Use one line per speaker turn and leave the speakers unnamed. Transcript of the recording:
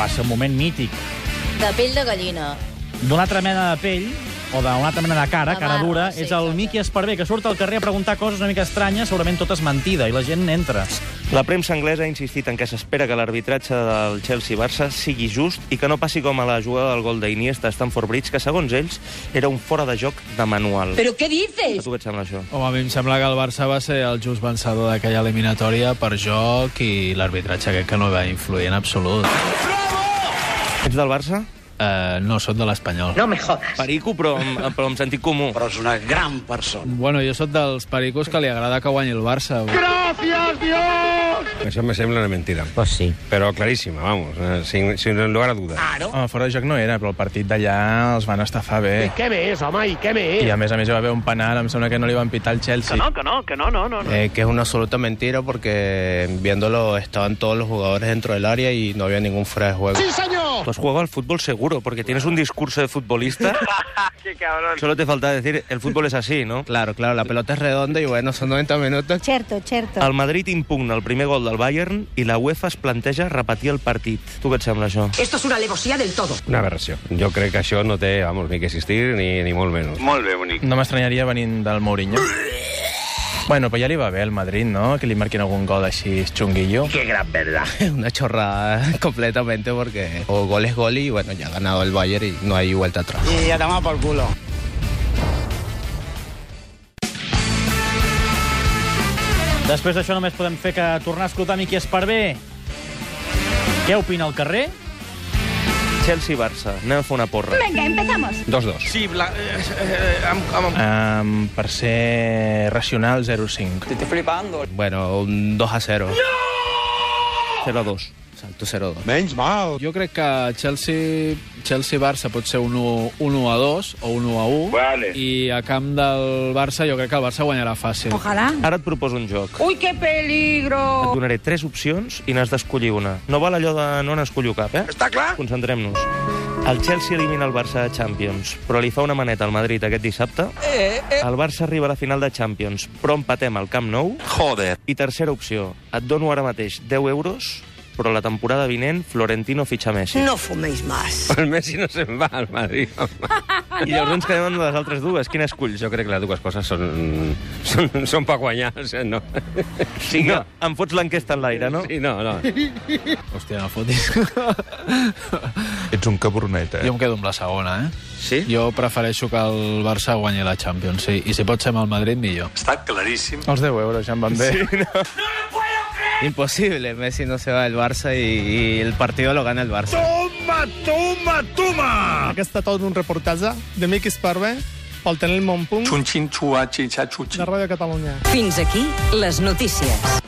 va ser un moment mític.
De pell de gallina.
D'una altra mena de pell, o d'una altra mena de cara,
De
cara
barba,
dura,
sí,
és el
exacte.
Miqui Esparvé, que surt al carrer a preguntar coses una mica estranyes, segurament totes mentida, i la gent entra.
La premsa anglesa ha insistit en que s'espera que l'arbitratge del Chelsea-Barça sigui just i que no passi com a la jugada del gol d'Iniesta a Stamford Bridge, que segons ells era un fora de joc de manual.
¿Pero qué
A
dices?
tu què et sembla això?
Home, a mi em sembla que el Barça va ser el just vencedor d'aquella eliminatòria per joc i l'arbitratge crec que no va influir en absolut.
Ets del Barça?
Uh, no, sóc de l'Espanyol.
No me jodas.
Perico, però amb, però amb sentit comú.
però és una gran persona.
Bueno, jo sóc dels pericos que li agrada que guanyi el Barça.
Això me sembla una mentida. Pues sí. Però claríssima, vamos, eh, sin, sin lugar a dudas.
Ah.
Home, fora de joc no era, però el partit d'allà els van estafar bé. I què més, home, i què més? I a més a més hi va haver un penal, em sembla que no li van pitar el Chelsea. Que no, que no, que no, no. no. Eh, que és una absoluta mentira porque viéndolo estaban todos los jugadores dentro del área y no había ningún fuera de juego.
Pues juega al fútbol seguro, porque tienes un discurso de futbolista. Solo te falta decir, el fútbol es así, ¿no?
Claro, claro, la pelota es redonda y bueno, son 90 minutos.
Certo, certo.
El Madrid impugna el primer gol del Bayern i la UEFA es planteja repetir el partit. Tu què et sembla, això?
Esto es una alevosía del todo.
Una aberració. Jo crec que això no té, vamos, ni que existir ni, ni molt menys.
Molt bé, bonic.
No m'estranyaria venint del Mourinho. Bueno, però ja li va bé al Madrid, no? Que li marquin algun gol així xunguillo.
Que gran verdad.
Una chorrada completamente porque o gol es gol y bueno, ya ha ganado el Bayern y no hay vuelta atrás.
I ja t'amà pel culo.
Després d'això només podem fer que tornar a escoltar Miqui Esparvé. Què opina al carrer?
Chelsea-Barça. Anem a fer una porra.
Venga, empezamos.
Dos, dos. Sí.
eh,
Um, per ser racional, 0-5.
Te estoy flipando.
Bueno, un 2 a 0.
0-2.
Salto 0-2.
Menys mal.
Jo crec que Chelsea Chelsea-Barça pot ser un 1, un 1 a 2 o un 1 a 1.
Vale.
I a camp del Barça jo crec que el Barça guanyarà fàcil.
Ojalá.
Ara et proposo un joc.
¡Uy, qué peligro!
Et donaré tres opcions i n'has d'escollir una. No val allò de no n'escollo cap, eh?
Està clar?
Concentrem-nos. El Chelsea elimina el Barça de Champions, però li fa una maneta al Madrid aquest dissabte. El Barça arriba a la final de Champions, però empatem al Camp Nou.
Joder.
I tercera opció, et dono ara mateix 10 euros, però la temporada vinent Florentino fitxa Messi.
No fuméis más.
El Messi no se'n va al Madrid. home.
I llavors ens quedem amb les altres dues. Quina esculls?
Jo crec que les dues coses són, són, són per guanyar, o sigui, no.
Sí, no. Em fots l'enquesta en l'aire, no?
Sí, no, no.
Hòstia, no fotis.
Ets un cabronet,
jo em quedo amb la segona, eh?
Sí?
Jo prefereixo que el Barça guanyi la Champions, sí. I si pot ser amb el Madrid, millor.
Està claríssim.
Els 10 euros ja em van bé. Sí.
Impossible, Messi no se va del Barça i, i el partido lo gana el Barça.
Aquest ha tot un reportatge de Miquis Parve pel Tenel Montpunt
Xun xin xua xin xa xu xin.
de Ràdio Catalunya.
Fins aquí les notícies.